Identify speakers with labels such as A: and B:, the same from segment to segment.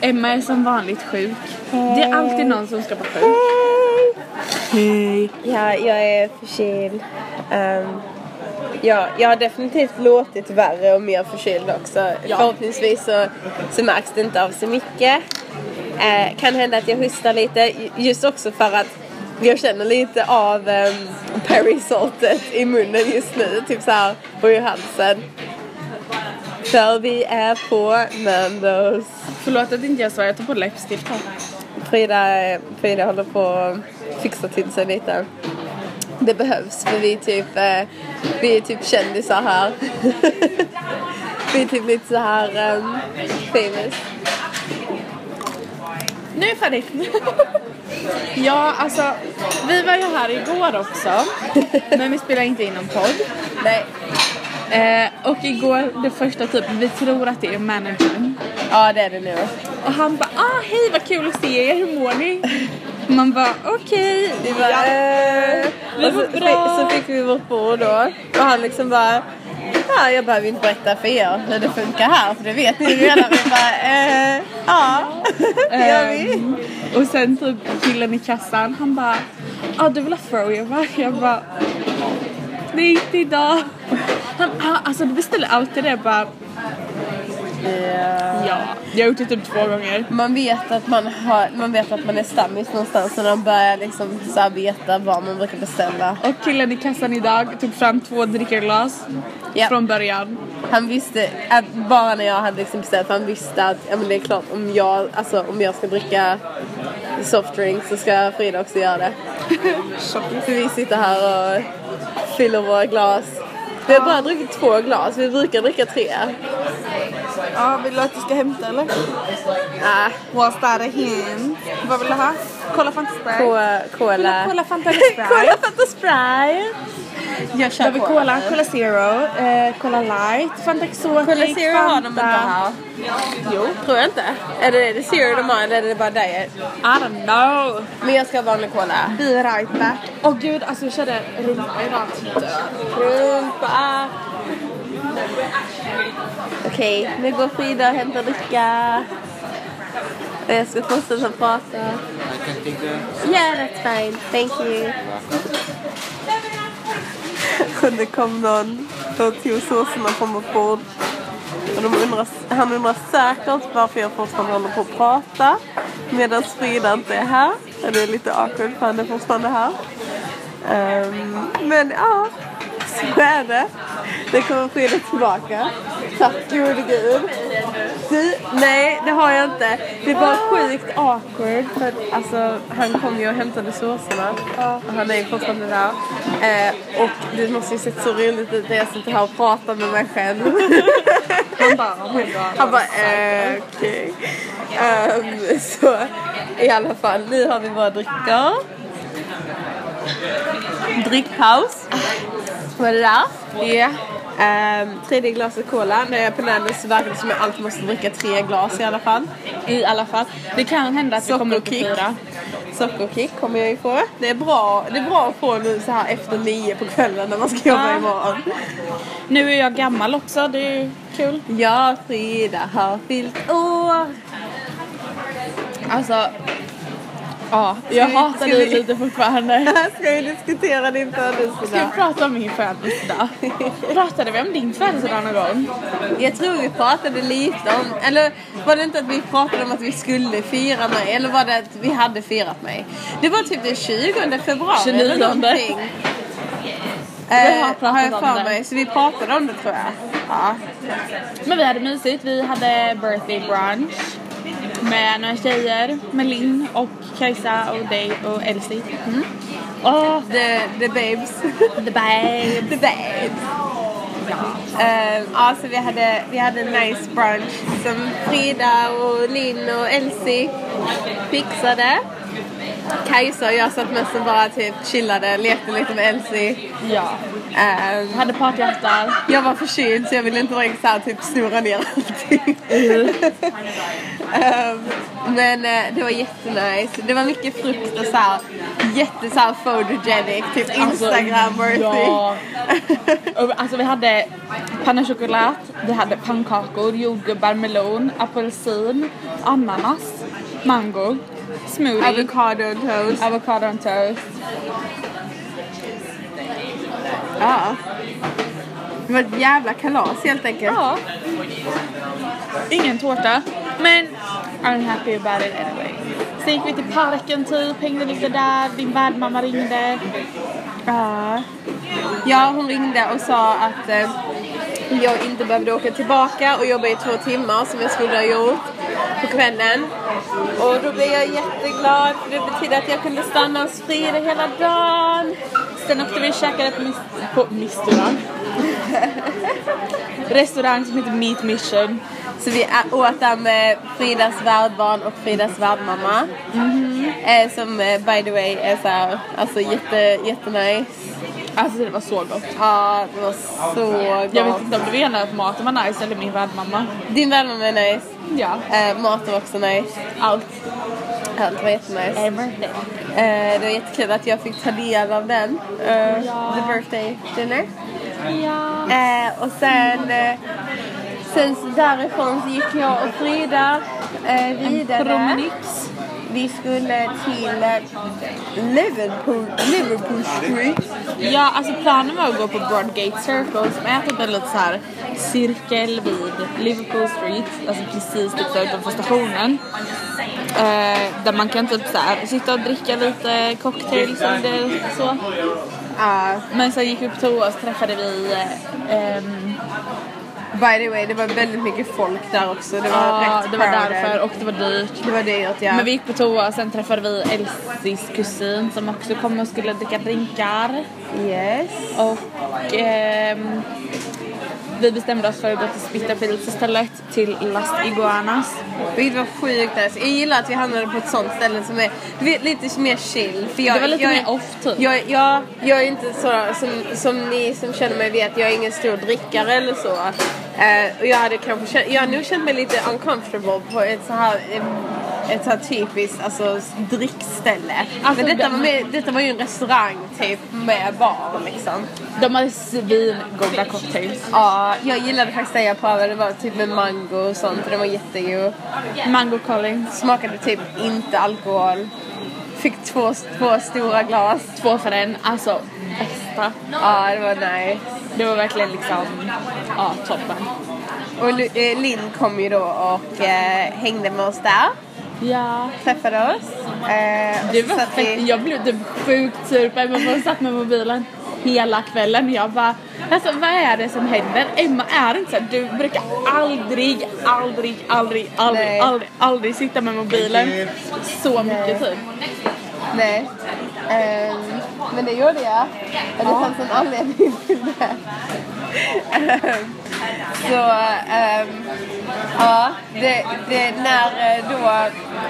A: Emma är som vanligt sjuk. Det är alltid någon som ska vara sjuk. Hej.
B: Ja, jag är förkyld. Ehm, ja, jag har definitivt låtit värre och mer förkyld också.
A: Ja.
B: Förhoppningsvis så, så märks det inte av så mycket. Eh, kan hända att jag hostar lite, ju- just också för att jag känner lite av um, Perry-saltet i munnen just nu, typ så här, och i halsen. För vi är på Mandos.
A: Förlåt att inte jag svarar, jag tar på läppstift här.
B: Frida, Frida håller på att fixa till sig lite. Det behövs för vi är typ, eh, vi är typ kändisar här. vi är typ lite så här um, famous.
A: Nu är jag färdig. ja, alltså vi var ju här igår också. men vi spelar inte in någon podd.
B: Nej.
A: Eh, och igår, det första typ, vi tror att det är managern.
B: Ja det är det nu.
A: Och han bara ah hej vad kul att se er, hur mår ni? Man bara okej.
B: Vi bara,
A: Ja.
B: eh,
A: Vi
B: och
A: mår
B: så,
A: bra.
B: fick- så fick vi vårt bord då. Och han liksom bara Ja, jag behöver inte berätta för er hur det funkar här för det vet ni redan. Vi bara, eh, ja, det gör vi.
A: Ehm, och sen typ killen i kassan han bara ah du vill ha froyo va? Jag bara det är inte idag. Han, ah, alltså du beställer alltid det bara ja. Jag har gjort det typ två gånger.
B: Man vet att man, har, man vet att man är stammis någonstans och man börjar liksom så här veta vad man brukar beställa.
A: Och killen i kassan idag tog fram två drickerglas
B: Ja.
A: från början.
B: Han visste, att bara när jag hade liksom beställt, för han visste att ja, men det är klart om jag, alltså, om jag ska dricka softdrinks så ska Frida också göra det. För vi sitter här och fyller våra glas. Vi har bara druckit två glas, vi brukar dricka tre.
C: Ja, vill du att du ska hämta eller?
B: Ah,
A: Äh,
C: What's that a hint? Vad vill du ha? Kolla Fanta Sprite.
B: cola. Cola,
C: Kolla Fanta eller
B: cola
C: Sprite.
B: Fanta Sprite. Jag kör
C: Jag vill Cola, Cola Zero, eh, Cola Light, Fanta Exotic,
B: Cola Zero har de inte här. Jo, tror jag inte. Eller är det Zero de har eller är det bara Diet?
A: I don't know.
B: Men jag ska ha vanlig Cola.
C: Be right back.
A: Åh gud alltså jag körde rumpa idag.
B: Rumpa! Okej, nu går Frida och hämtar dricka. Och jag ska fortsätta prata.
D: I can take the
B: Yeah, that's fine. Thank you. Och det kom någon och tog såserna från vårt bord. Och de undrar, han undrar säkert varför jag fortfarande håller på att prata. Medan Frida inte är här. Och det är lite awkward för han är fortfarande här. Ehm, men ja, så är det. Det kommer Frida tillbaka. Tack gode gud. Du, nej det har jag inte. Det var sjukt awkward för att alltså, han kom ju och hämtade såserna. Och han är ju fortfarande där. Eh, och det måste ju sett så roligt ut när jag sitter här och pratar med mig själv.
A: Han bara oh my god.
B: Han bara eh, okej. Ehm, så i alla fall, nu har vi våra drycker. Dryckpaus. Vad är det där? Ja. Ehm, tredje glaset cola. När jag är på Nandos så verkar det som att jag alltid måste dricka tre glas i alla fall. I alla fall.
A: Det kan hända att det kommer upp i
B: Sockerkick.
A: fyra.
B: Sockerkick kommer jag ju få. Det är bra, det är bra att få nu så här efter nio på kvällen när man ska jobba
A: Ja.
B: imorgon.
A: Nu är jag gammal också, det är ju kul.
B: Ja, Frida har fyllt år.
A: Alltså, ja, jag
B: Ska vi-
A: hatar
B: ska
A: dig
B: vi-
A: lite fortfarande.
B: Här ska vi diskutera din
A: Ska
B: födelsedag.
A: vi prata om min födelsedag? Pratade vi om din födelsedag någon gång?
B: Jag tror vi pratade lite om, eller var det inte att vi pratade om att vi skulle fira mig? Eller var det att vi hade firat mig? Det var typ den 20 februari
A: 29.
B: eller någonting.
A: har
B: Eh,
A: pratat
B: har jag
A: om
B: för
A: det.
B: mig, så vi pratade om det tror jag. Ja.
A: Men vi hade mysigt, vi hade birthday brunch med några tjejer, med Linn och Kajsa och dig och Elsie. Mm. Och
B: The, Oh, the babes.
A: the babe.
B: The babes. Eh, ja, så vi hade, vi hade en nice brunch som Frida och Linn och Elsie fixade. Kajsa och jag satt mest och bara typ chillade, lekte lite med Elsie.
A: Ja.
B: Ehm,
A: Hade partyhattar.
B: jag var förkyld så jag ville inte vara så här, typ snurra ner allting.
A: Mm.
B: Ehm, men eh, det var jättenice. Det var mycket frukt och så här, jätte så här photogenic, typ
A: Alltså,
B: Instagram-worthy.
A: ja. Och, Alltså vi hade panna choklad, vi hade pannkakor, jordgubbar, melon, apelsin, ananas, mango, smoothie,
B: Avocado and toast.
A: avocado and toast.
B: Ja. Det var ett jävla kalas helt enkelt.
A: Ja. Ingen tårta, men I'm happy about it anyway. Sen gick vi till parken typ, hängde lite där, din värdmamma ringde.
B: Ja. Ja, hon ringde och sa att eh, jag inte behövde åka tillbaka och jobba i två timmar som jag skulle ha gjort på kvällen. Och då blev jag jätteglad för det betyder att jag kunde stanna hos Frida hela dagen.
A: Sen åkte vi och käkade ett mis- på restaurang. restaurang som heter Meat Mission.
B: Så vi ä- åt där med Fridas värdbarn och Fridas värdmamma.
A: Mm-hmm.
B: Eh, som eh, by the way är så här, alltså jätte, jättenice.
A: Alltså det var så gott.
B: Ja, det var så gott.
A: Jag vet inte om du menar att maten var nice eller min värdmamma.
B: Din värdmamma är nice.
A: Ja.
B: Eh, maten var också nice.
A: Allt.
B: Allt var jättenice.
A: Everything.
B: Eh, det var jättekul att jag fick ta del av den. eh, The birthday dinner.
A: Ja.
B: Eh, och sen, eh, sen så därifrån så gick jag och Frida eh, vidare.
A: Promenix.
B: Vi skulle till eh, Liverpool, Liverpool Street.
A: Ja, alltså planen var att gå på Broadgate Circle som är typ en liten så här cirkel vid Liverpool Street, alltså precis typ där utanför stationen. Eh, där man kan typ så här sitta och dricka lite cocktails eller så.
B: Ja,
A: Men sen gick vi på toa och så träffade vi eh, ehm,
B: by the way, det var väldigt mycket folk där också. Det var
A: ja,
B: rätt
A: Ah, det var
B: crowded.
A: därför och det var dyrt.
B: Det var det att jag...
A: Men vi gick på toa och sen träffade vi Elsies kusin som också kom och skulle dricka drinkar.
B: Yes.
A: Och ehm, vi bestämde oss för att gå till Spitterfields istället till Las Iguanas.
B: Vilket var sjukt nice. Jag gillar att vi hamnade på ett sånt ställe som är du vet, lite mer chill. För jag,
A: Det var lite
B: jag,
A: mer off, typ.
B: Jag, jag, jag är inte så, som, som ni som känner mig vet, jag är ingen stor drickare eller så. Eh, och jag hade kanske känt, jag har nog känt mig lite uncomfortable på ett så här, eh, ett så här typiskt alltså, drickställe.
A: Alltså,
B: Men detta
A: det-
B: var, mer, detta var ju en restaurang typ med bar liksom.
A: De hade svingoda cocktails.
B: Ja, jag gillade faktiskt det jag provade. Det var typ med mango och sånt och det var jättegod.
A: Mango Collins,
B: smakade typ inte alkohol. Fick två, två stora glas.
A: två för en. Alltså bästa.
B: Ja, det var nice.
A: Det var verkligen liksom, ja toppen.
B: Och Lu- eh, Linn kom ju då och eh, hängde med oss där.
A: Ja.
B: Träffade oss. Eh, och
A: Det
B: så
A: var
B: satt
A: fett,
B: vi-
A: jag blev typ sjukt sur på Emma för hon satt med mobilen hela kvällen och jag bara Alltså vad är det som händer? Emma är inte såhär, du brukar aldrig, aldrig, aldrig, aldrig,
B: Nej.
A: aldrig, aldrig sitta med mobilen så mycket typ.
B: Nej. Ehm, men det gjorde jag. Och det fanns en anledning till det. Ehm, så, ehm, ja. Det, det, när eh, då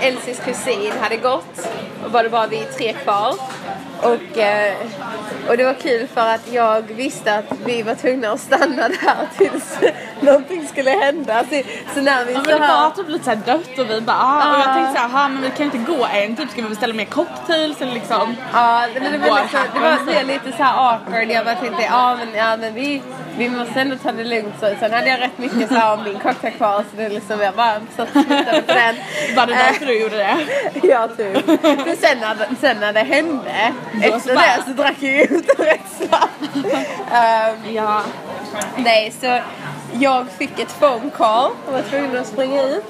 B: Elsies kusin hade gått och var det bara vi tre kvar. Och, eh, och det var kul för att jag visste att vi var tvungna att stanna där tills någonting skulle hända. Så, så när vi
A: Ja,
B: så
A: men det
B: här-
A: var typ lite såhär dött och vi bara ah. och jag tänkte såhär, "Ha, men vi kan inte gå än typ, ska vi beställa mer cocktails eller liksom?
B: Ja, men det var,
A: What
B: liksom, det var det lite så här awkward. Jag bara tänkte, ja men, ja, men vi, vi måste ändå ta det lugnt. Så, sen hade jag rätt mycket så här om min cocktail kvar så det är liksom, jag bara satt och tittade på den.
A: Var det
B: Eh,
A: därför du gjorde det?
B: Ja, typ. Men sen när, sen när det hände,
A: Då
B: efter
A: bara-
B: det så drack jag ju ut och rätt snabbt. Ehm,
A: Ja.
B: Nej, så jag fick ett phone call och var tvungen att springa ut.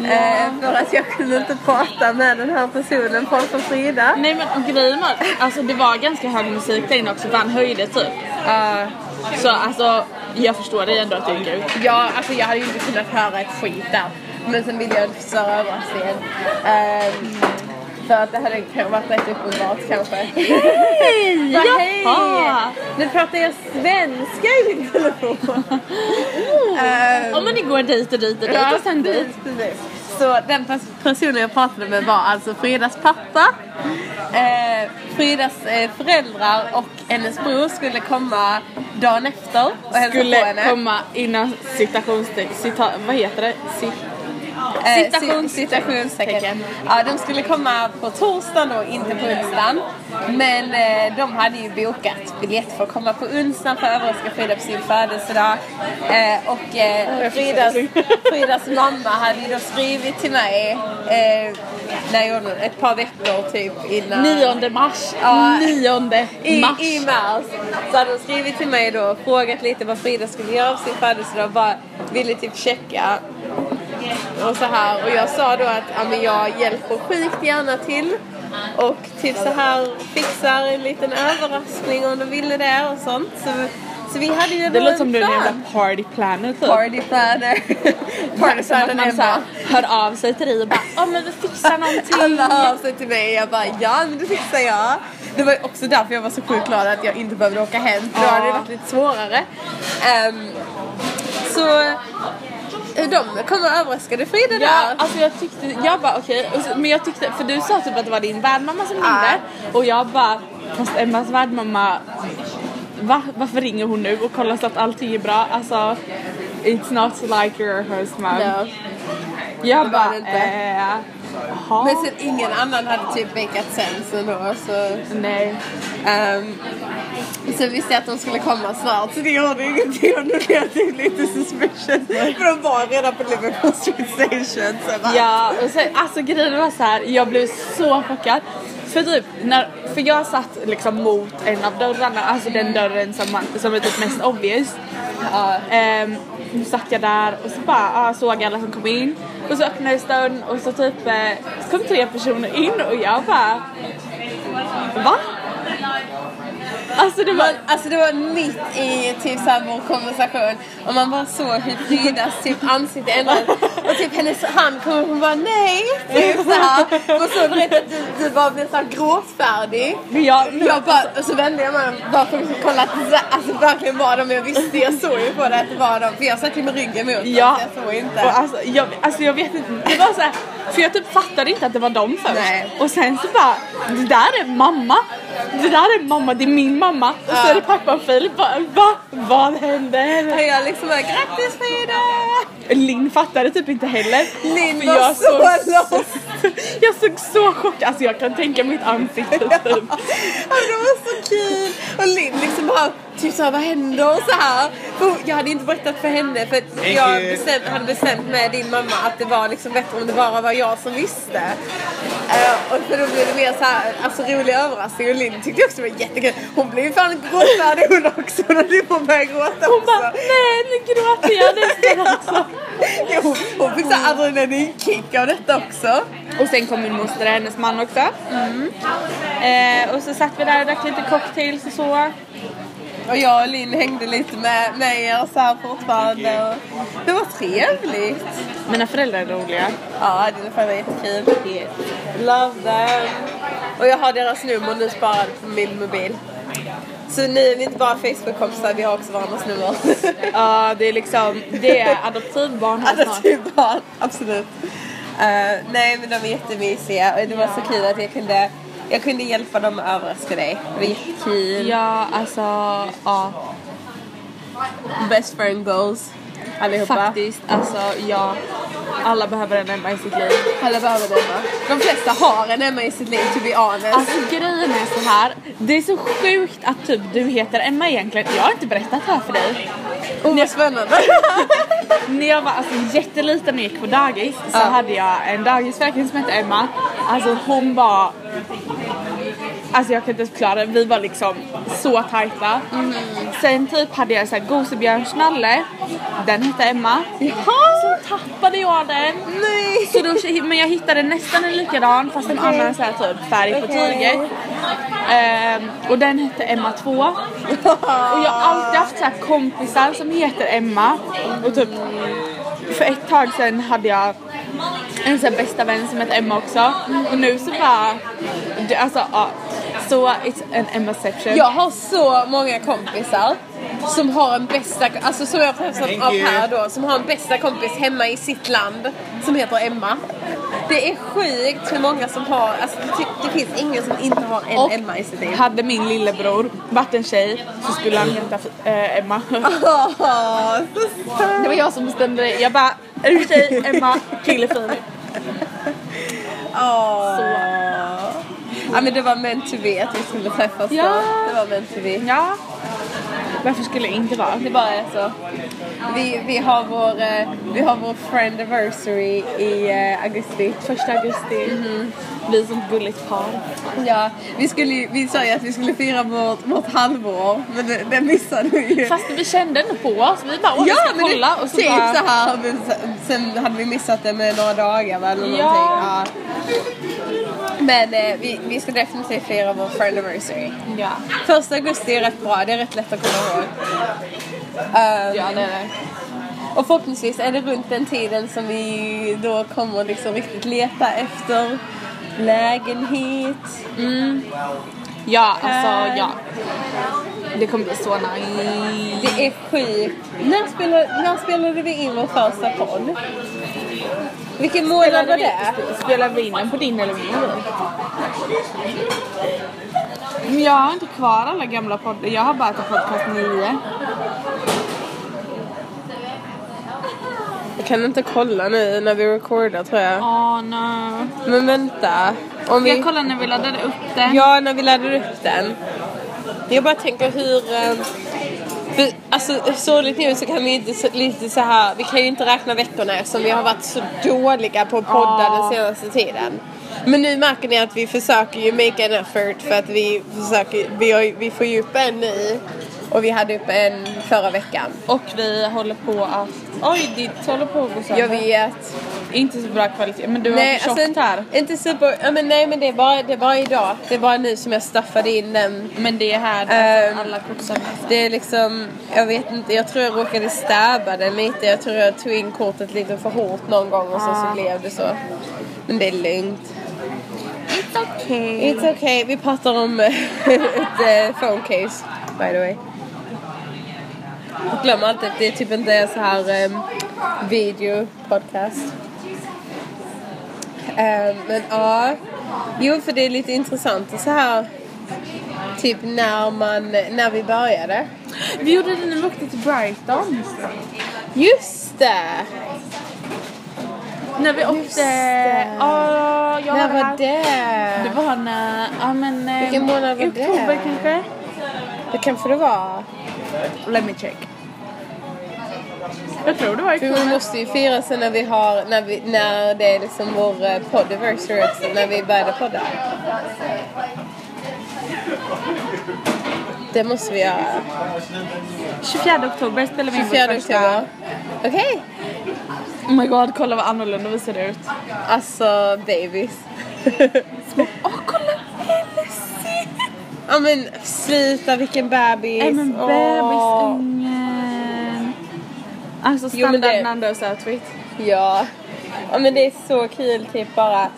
B: Eh, för att jag kunde inte prata med den här personen från Frida.
A: Nej men och grejen var, alltså det var ganska hög musik där inne också för han höjde typ. Eh, så alltså jag förstår dig ändå att du gick ut.
B: Ja, alltså jag hade ju inte kunnat höra ett skit där. Men sen ville jag inte förstöra överraskningen. Ehm, för att det hade kanske varit rätt uppenbart kanske.
A: Hej!
B: Va,
A: Jaha!
B: Nu pratar jag svenska i min telefon. Ehm,
A: Om man går dit och dit och dit och sen dit.
B: precis, precis. Så den pers- personen jag pratade med var alltså Fridas pappa. Ehm, Eh, Fridas eh, föräldrar och hennes bror skulle komma dagen efter och hälsade på
A: Skulle
B: henne.
A: komma innan citationstecken, cita, vad heter det? Cit,
B: Eh,
A: Citation-
B: ci- citationstecken.
A: tecken.
B: Ja, de skulle komma på torsdagen då, inte på onsdagen. Men eh, de hade ju bokat biljett för att komma på onsdagen för att överraska Frida på sin födelsedag. Eh, och eh,
A: jag fick
B: Fridas,
A: det.
B: Fridas mamma hade ju då skrivit till mig eh, när jag, gjorde- ett par veckor typ innan.
A: 9 mars.
B: Ja.
A: 9
B: I,
A: mars.
B: I mars. Så hade hon skrivit till mig då och frågat lite vad Frida skulle göra av sin födelsedag och bara ville typ checka. Och så här. Och jag sa då att ja, men jag hjälper sjukt gärna till. Och typ så här fixar en liten överraskning om du ville det och sånt. Så, så vi hade ju
A: det
B: då
A: låter
B: en
A: som du är en
B: plan.
A: jävla party planner typ.
B: Party planner. Party
A: Som att
B: planner
A: man
B: är
A: så här,
B: bra.
A: hör av sig till dig och bara ja men vi fixar någonting.
B: Alla hör av sig till mig och jag bara ja men det fixar jag. Det var också därför jag var så sjukt glad att jag inte behövde åka hem för då
A: Ja.
B: hade det varit lite svårare. Ehm, så eh, de kom och överraskade Frida
A: Ja,
B: där.
A: alltså jag tyckte, jag bara okej, och så- men jag tyckte, för du sa typ att det var din värdmamma som ringde och jag bara, fast Emmas värdmamma, va? varför ringer hon nu och kollar så att allting är bra? Alltså, it's not like you're her host mom.
B: Ja.
A: Jag
B: det var
A: bara,
B: det inte.
A: eh, jaha.
B: Men sen ingen annan hade typ bakat sen så då så.
A: Nej.
B: Um, sen visste jag att de skulle komma snart så det gjorde ingenting och nu blev jag typ lite suspicious. För de var redan på Liverpool Street Station. Så jag bara,
A: Ja, och sen, alltså grejen var så här, jag blev så chockad. För typ, när, för jag satt liksom mot en av dörrarna, alltså den dörren som, man, som är typ mest obvious. Ehm, nu satt jag där och så bara ja, såg alla som kom in och så öppnades dörren och så typ eh, så kom tre personer in och jag bara Va? Alltså det var
B: Man, alltså det var mitt i typ så här vår konversation och man bara såg hur Fridas typ ansikte ändrades och typ hennes hand kom upp och bara nej typ så här. Man såg direkt att du, du bara blev så här gråtfärdig.
A: men jag, men
B: Jag bara, och så vände jag mig om bara för att kolla att det så- alltså, verkligen var de. Jag visste, jag såg ju på det att det var de. För jag satt ju med ryggen mot dem,
A: Ja.
B: så jag såg inte.
A: Och alltså, jag, alltså jag vet inte, det var så här, för jag typ fattade inte att det var dem först.
B: Nej.
A: Och sen så bara, det där är mamma. Det där är mamma, det är min mamma. Och så
B: Ja.
A: är det pappa och Filip bara, va? Vad händer?
B: Och jag liksom bara, grattis Frida!
A: Linn fattade typ inte heller.
B: Linn
A: För
B: var
A: jag
B: så
A: såg-
B: lost.
A: Jag såg så chockad, alltså jag kan tänka mitt ansikte typ.
B: Ja, det var så kul! Och Linn liksom bara typ såhär, vad händer? Och så här. För hon- Jag hade inte berättat för henne för att jag
D: you.
B: bestäm, hade bestämt med din mamma att det var liksom bättre om det bara var jag som visste. Eh, och för då blev det mer så här, alltså rolig överraskning och Linn tyckte också det var jättekul. Hon blev ju fan gråtfärdig hon också när Linn började gråta
A: Hon bara,
B: också.
A: nej nu gråter jag nästan alltså.
B: Ja, hon, hon fick såhär adrenalinkick av detta också.
A: Och sen kom min moster och hennes man också. Eh, och så satt vi där och drack lite cocktails och så.
B: Och jag och Linn hängde lite med, med er så här fortfarande. Och det var trevligt.
A: Mina föräldrar är roliga.
B: Ja, dina föräldrar är jättekul. Love them. Och jag har deras nummer nu sparade på min mobil. Så nu är vi inte bara Facebook-kompisar, vi har också varandras nummer.
A: Ja, det är liksom, det är adoptivbarn här
B: Alla
A: snart.
B: typ barn, absolut. Eh, nej men de är jättemysiga och det var så kul att jag kunde, jag kunde hjälpa dem att överraska dig. Det var jättekul.
A: Ja, alltså, ja.
B: Best friend goals. Allihopa.
A: Faktiskt, alltså ja. Alla behöver en Emma i sitt liv.
B: Alla behöver det va? De flesta har en Emma i sitt liv to be honest.
A: Alltså grejen är så här. det är så sjukt att typ du heter Emma egentligen. Jag har inte berättat det här för dig.
B: oh, vad spännande.
A: När jag var alltså, jätteliten och gick på dagis så hade jag en dagisfröken som hette Emma. Alltså hon var... Alltså jag kan inte ens förklara, vi var liksom så tajta. Sen typ hade jag så här gosebjörnsnalle, den hette Emma. Så tappade jag den.
B: nej.
A: Så då, men jag hittade nästan en likadan fast en annan så här typ färg på
B: Okej.
A: tyget. Ehm, och den hette Emma 2. Och jag har alltid haft så här kompisar som heter Emma. Och typ för ett tag sedan hade jag en så här bästa vän som hette Emma också. Och nu så bara... det- Alltså ja. Så it's an Emmaception.
B: Jag har så många kompisar som har en bästa, alltså som jag har träffat
D: Thank
B: av
D: you.
B: här då, som har en bästa kompis hemma i sitt land som heter Emma. Det är sjukt hur många som har, alltså det, ty- det finns ingen som inte har en
A: Och-
B: Emma i sitt liv.
A: Hade min lillebror varit en tjej så skulle han heta eh, Emma.
B: Åh, så söt.
A: Det var jag som bestämde det. Jag bara, är du tjej? Emma, kille Filip.
B: Åh. Ja men det var meant to be att vi skulle träffas
A: Ja.
B: då. Det var meant to be.
A: Ja. Varför skulle det inte vara? Alltså,
B: Det bara är så. Vi, vi har vår, eh, vi har vår friendiversary i eh, augusti.
A: Första augusti. Mhm. Vi som gulligt par.
B: Ja, vi, skulle, ju- vi sa ju att vi skulle fira vårt, vårt halvår, men det, det missade vi ju.
A: Fast vi kände ändå på oss. Vi bara, åh
B: ja,
A: vi ska kolla.
B: det,
A: Och så
B: typ
A: bara,
B: så här, men sen- sen hade vi missat det med några dagar va, eller
A: Ja.
B: någonting. Ja. Men eh, vi, vi ska definitivt fira vår friendiversary.
A: ja.
B: Första augusti är rätt bra, det är rätt lätt att komma ihåg. Ehm,
A: ja, det är det.
B: Och förhoppningsvis är det runt den tiden som vi då kommer liksom riktigt leta efter lägenhet.
A: Ja, alltså ja. Det kommer bli så nice.
B: Det är sjukt. När spelade, när spelade vi in vår första podd? Vilken månad var det?
A: Spelar vi in den på din eller min mobil? Men jag har inte kvar alla gamla poddar. Jag har bara till podcast 9.
B: Jag kan inte kolla nu när vi recordar tror jag.
A: Åh no.
B: Men vänta. Om
A: Ska jag kolla när vi laddade upp den?
B: Ja, när vi laddar upp den. Jag bara tänker hur... eh, För, alltså sorgligt nu så kan vi inte så, lite så här, vi kan ju inte räkna veckorna eftersom vi har varit så dåliga på att podda
A: Ja.
B: den senaste tiden. Men nu märker ni att vi försöker ju make an effort för att vi försöker, vi, har, ju- vi får ju upp en ny och vi hade upp en förra veckan.
A: Och vi håller på att... Oj, ditt håller på att gå sönder.
B: Jag vet.
A: Inte så bra kvalitet, men du har
B: Nej,
A: för tjockt
B: alltså inte,
A: här.
B: inte super, ja, men nej men det är, bara, det är bara idag, det är bara nu som jag staffade in den
A: Men det är här alltså,
B: Ehm.
A: alla kort sönder.
B: Det är liksom, jag vet inte, jag tror jag råkade stäba den lite. Jag tror jag tog in kortet lite för hårt någon gång och så, så blev det så. Men det är lugnt.
A: It's okay.
B: It's okay, vi pratar om ett eh, phone case by the way. Jag glömmer alltid att det typ inte är så här um, video podcast. Ehm, men ja, jo för det är lite intressant och så här typ när man, när vi började.
A: Vi gjorde det när vi åkte till Brighton.
B: Just det!
A: När vi
B: Just
A: åkte...
B: det.
A: Ja, jag
B: När
A: här.
B: var
A: Det
B: det?
A: var när... Ja, men... eh,
B: Vilken månad var
A: i
B: det?
A: Oktober kanske?
B: Det kanske det var.
A: Let me check. Jag tror det var i
B: För vi måste ju fira sen när vi har, när, vi, när det är liksom vår eh, podiversary också, när vi började podda. Det måste vi göra.
A: 24 oktober spelade vi in vår
B: 24
A: första.
B: oktober. Okej!
A: Oh my god, kolla vad annorlunda vi ser ut.
B: Alltså babies.
A: Åh, kolla!
B: Ja men sluta vilken bebis.
A: Nej men
B: Åh.
A: bebisungen. Alltså
B: Jo, men
A: standard
B: det-
A: Nandos outfit.
B: Ja. ja, men det är så kul typ bara.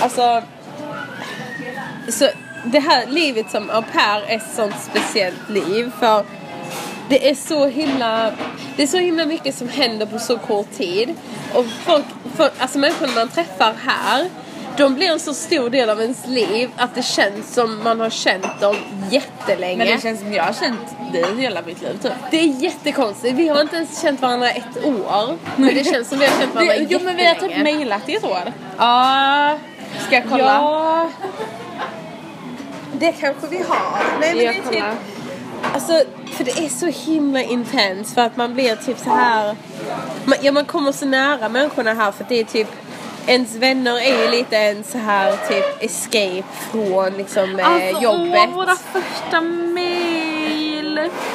B: Alltså, så det här livet som au pair är ett sånt speciellt liv för det är så himla, det är så himla mycket som händer på så kort tid. Och folk, folk alltså människorna man träffar här, de blir en så stor del av ens liv att det känns som man har känt dem jättelänge.
A: Men det känns som jag har känt dig hela mitt liv typ.
B: Det är jättekonstigt, vi har inte ens känt varandra ett år. Men det känns som vi har känt varandra
A: Det, jo men vi har typ
B: jättelänge.
A: mejlat i ett år. Eh,
B: Ja,
A: Ska jag kolla?
B: Ja. Det kanske vi har. Nej, men
A: Jag
B: det är
A: kollar.
B: typ, alltså, för det är så himla intens för att man blir typ så här. Man, ja, man kommer så nära människorna här för att det är typ ens vänner är ju lite en så här typ escape från liksom eh,
A: Alltså
B: jobbet.
A: åh, våra första mejl!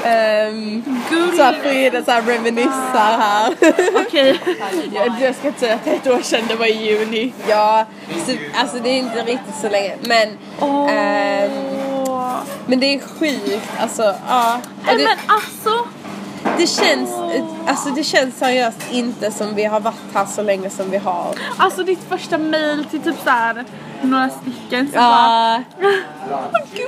B: Ehm,
A: Gull.
B: så att Frida så här reminissar här.
A: Okej, jag, jag ska inte säga att det är ett år sedan, det var i juni.
B: ja, så, alltså det är inte riktigt så länge men
A: Åh.
B: ehm, Men det är sjukt, alltså ja. Och
A: Nej,
B: det,
A: men alltså!
B: det känns, alltså det känns seriöst inte som vi har varit här så länge som vi har.
A: Alltså ditt första mail till typ såhär några stycken så
B: Ja. ja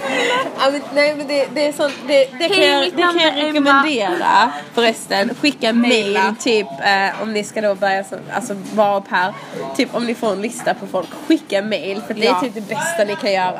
B: men, Alltså, nej men det, det är sånt, det, det kan
A: Hej,
B: jag,
A: mitt
B: det kan
A: namn
B: jag
A: är Emma.
B: rekommendera förresten. Skicka mail typ eh, om ni ska då börja som, alltså vara upp här. Typ om ni får en lista på folk, skicka mail för det är
A: Ja.
B: typ det bästa ni kan göra.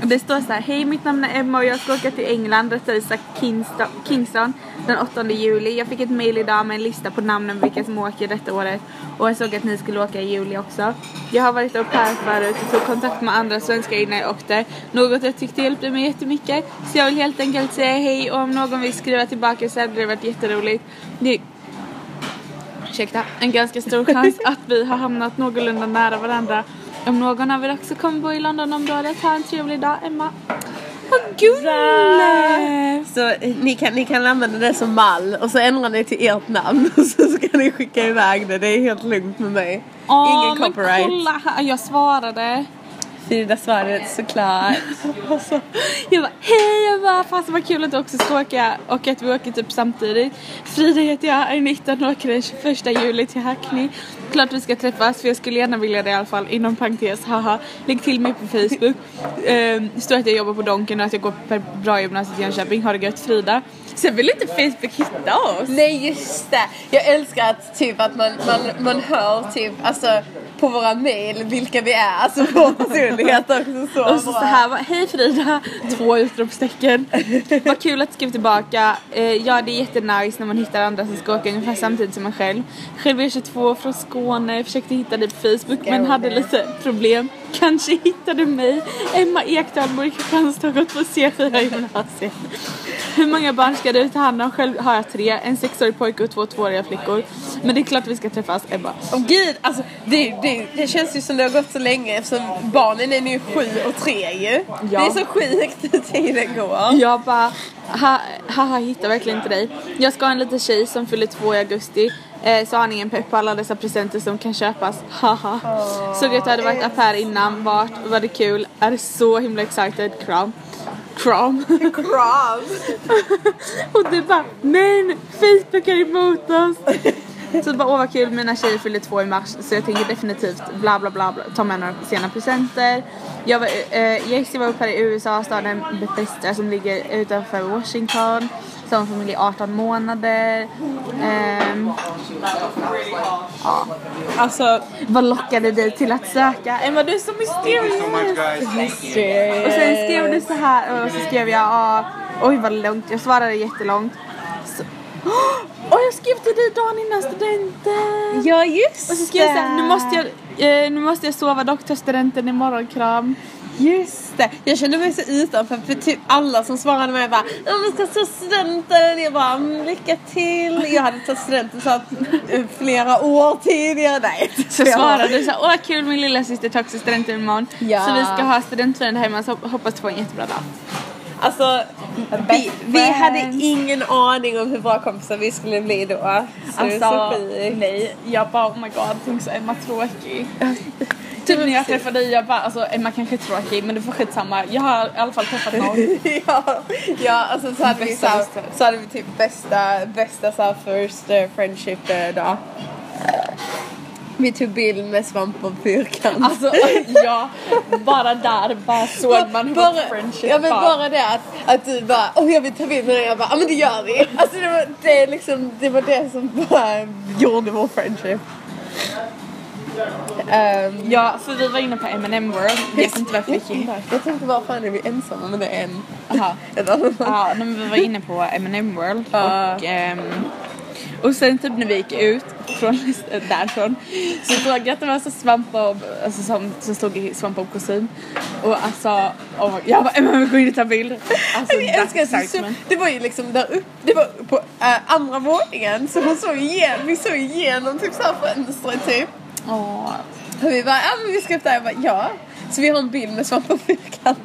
A: bara, Det står så här: hej mitt namn är Emma och jag ska åka till England, rättare sagt Kingston, Kingston den 8 juli. Jag fick ett mail idag med en lista på namnen på vilka som åker detta året och jag såg att ni skulle åka i juli också. Jag har varit upp här förut och tog kontakt med andra svenskar innan jag åkte, något jag tyckte hjälpte mig jättemycket. Så jag vill helt enkelt säga hej och om någon vill skriva tillbaka så hade det varit jätteroligt. Det ursäkta, en ganska stor chans att vi har hamnat någorlunda nära varandra. Om någon av er också kommer bo i Londonområdet, ha en trevlig dag Emma.
B: Så eh, ni kan, ni kan använda det som mall och så ändrar ni till ert namn och så ska ni skicka iväg det. Det är helt lugnt med mig.
A: Åh,
B: Ingen
A: men
B: copyright.
A: kolla här, jag svarade.
B: Frida svarade såklart.
A: Alltså, jag bara hej, jag bara fasen vad kul att du också ska åka och att vi åker typ samtidigt. Frida heter jag, är 19 och åker den 21 juli till Hackney. Klart vi ska träffas för jag skulle gärna vilja det i alla fall inom parentes haha. Lägg till mig på Facebook. Ehm, det står att jag jobbar på Donken och att jag går på bra gymnasiet i Jönköping. Har det gött Frida. Sen vill inte Facebook hitta oss.
B: Nej just det! Jag älskar att, typ, att man, man, man hör typ, alltså, på våra mail vilka vi är, alltså vår personlighet också Alltså, så
A: Och så, så här var hej Frida! Två utropstecken. Vad kul att du skrev tillbaka. Eh, ja det är jättenice när man hittar andra som ska åka ungefär samtidigt som en själv. Själv är jag 22 från Skåne, försökte hitta dig på Facebook men hade lite problem. Kanske hittade mig. Emma Ekdahl bor i Kristianstad och gått på C4 gymnasiet. Hur många barn ska du ta hand om? Själv har jag tre. En sexårig pojke och två tvååriga flickor. Men det är klart vi ska träffas Ebba.
B: Åh gud, alltså det, det, det känns ju som det har gått så länge eftersom barnen är nu sju och tre ju. Det är så sjukt hur tiden går.
A: Jag bara, ha- haha hittar verkligen inte dig. Jag ska ha en liten tjej som fyller två i augusti. Eh, så har ni ingen pepp på alla dessa presenter som kan köpas. Haha. Såg att du hade varit upp här innan. Vart? Var det kul? Är så himla excited. Kram. Kram.
B: Kram!
A: Och du bara men Facebook är emot oss. Så bara åh vad kul mina tjejer fyller två i mars så jag tänker definitivt bla bla bla, bla ta med några sena presenter. Jag var, eh, Jessie var uppe här i USA, staden Bethesda som ligger utanför Washington. Som en familj i 18 månader. Ehm,
B: Alltså,
A: vad lockade dig till att söka? Emma du är så mysterious!
D: so much, guys. Thank you.
A: Och sen skrev
B: Eh.
A: du så här och så skrev jag ah, oj vad långt, jag svarade jättelångt. Så, och jag skrev till dig dagen innan studenten!
B: ja just
A: Och så skrev jag såhär, nu måste jag, eh, nu måste jag sova dock, ta studenten imorgon, kram.
B: Just det, jag kände mig så utanför för typ alla som svarade mig bara Ja men ska ta studenten, jag bara "Mm, lycka till. Jag hade tagit studenten så att, eh, flera år tidigare. Nej,
A: Så svarade du såhär, åh kul min lilla syster tar också studenten imorgon.
B: Ja.
A: Så vi ska ha studentfirande hemma så hop- hoppas få en jättebra dag.
B: Alltså vi,
A: Best
B: vi hade
A: friends.
B: ingen aning om hur bra kompisar vi skulle bli då. Så det är så sjukt.
A: Alltså, nej, jag bara oh my god, tänk så Emma tråkig. typ när jag träffade dig, jag bara alltså Emma kanske är tråkig men du får skitsamma. Jag har i alla fall träffat någon.
B: ja, ja, alltså så hade, vi, så,
A: Bästa
B: här,
A: listan.
B: så hade vi typ bästa, bästa så här, first eh, friendship eh, dag. Vi tog bild med svamp och fyrkant.
A: Alltså ja, bara där bara såg man hur bara, friendship
B: ja, men
A: var.
B: bara det att, att du bara åh jag vill ta bild med dig jag bara ja men det gör vi. Alltså det var det, är liksom, det, var det som bara gjorde vår friendship. Ehm,
A: Ja, för vi var inne på M&M World. Jag vet inte varför vi gick in där.
B: jag tänkte varför är vi ensamma men det är en.
A: Aha.
B: Ett annat.
A: Ja, nej, men vi var inne på M&M World och ehm, och sen typ när vi gick ut från, därifrån så såg jag att det var så svampbob alltså som, som stod i svampbob kostym och alltså oh my, jag bara Emma vi går in och tar bild. Alltså
B: Jag älskar att du
A: excitement.
B: så, det var ju liksom där uppe, det var på eh, andra våningen så hon såg igen, vi såg igenom typ såhär fönstret typ.
A: Åh.
B: Och vi bara, ja men vi ska upp där, jag bara ja. Så vi har en bild med svamp och fyrkant.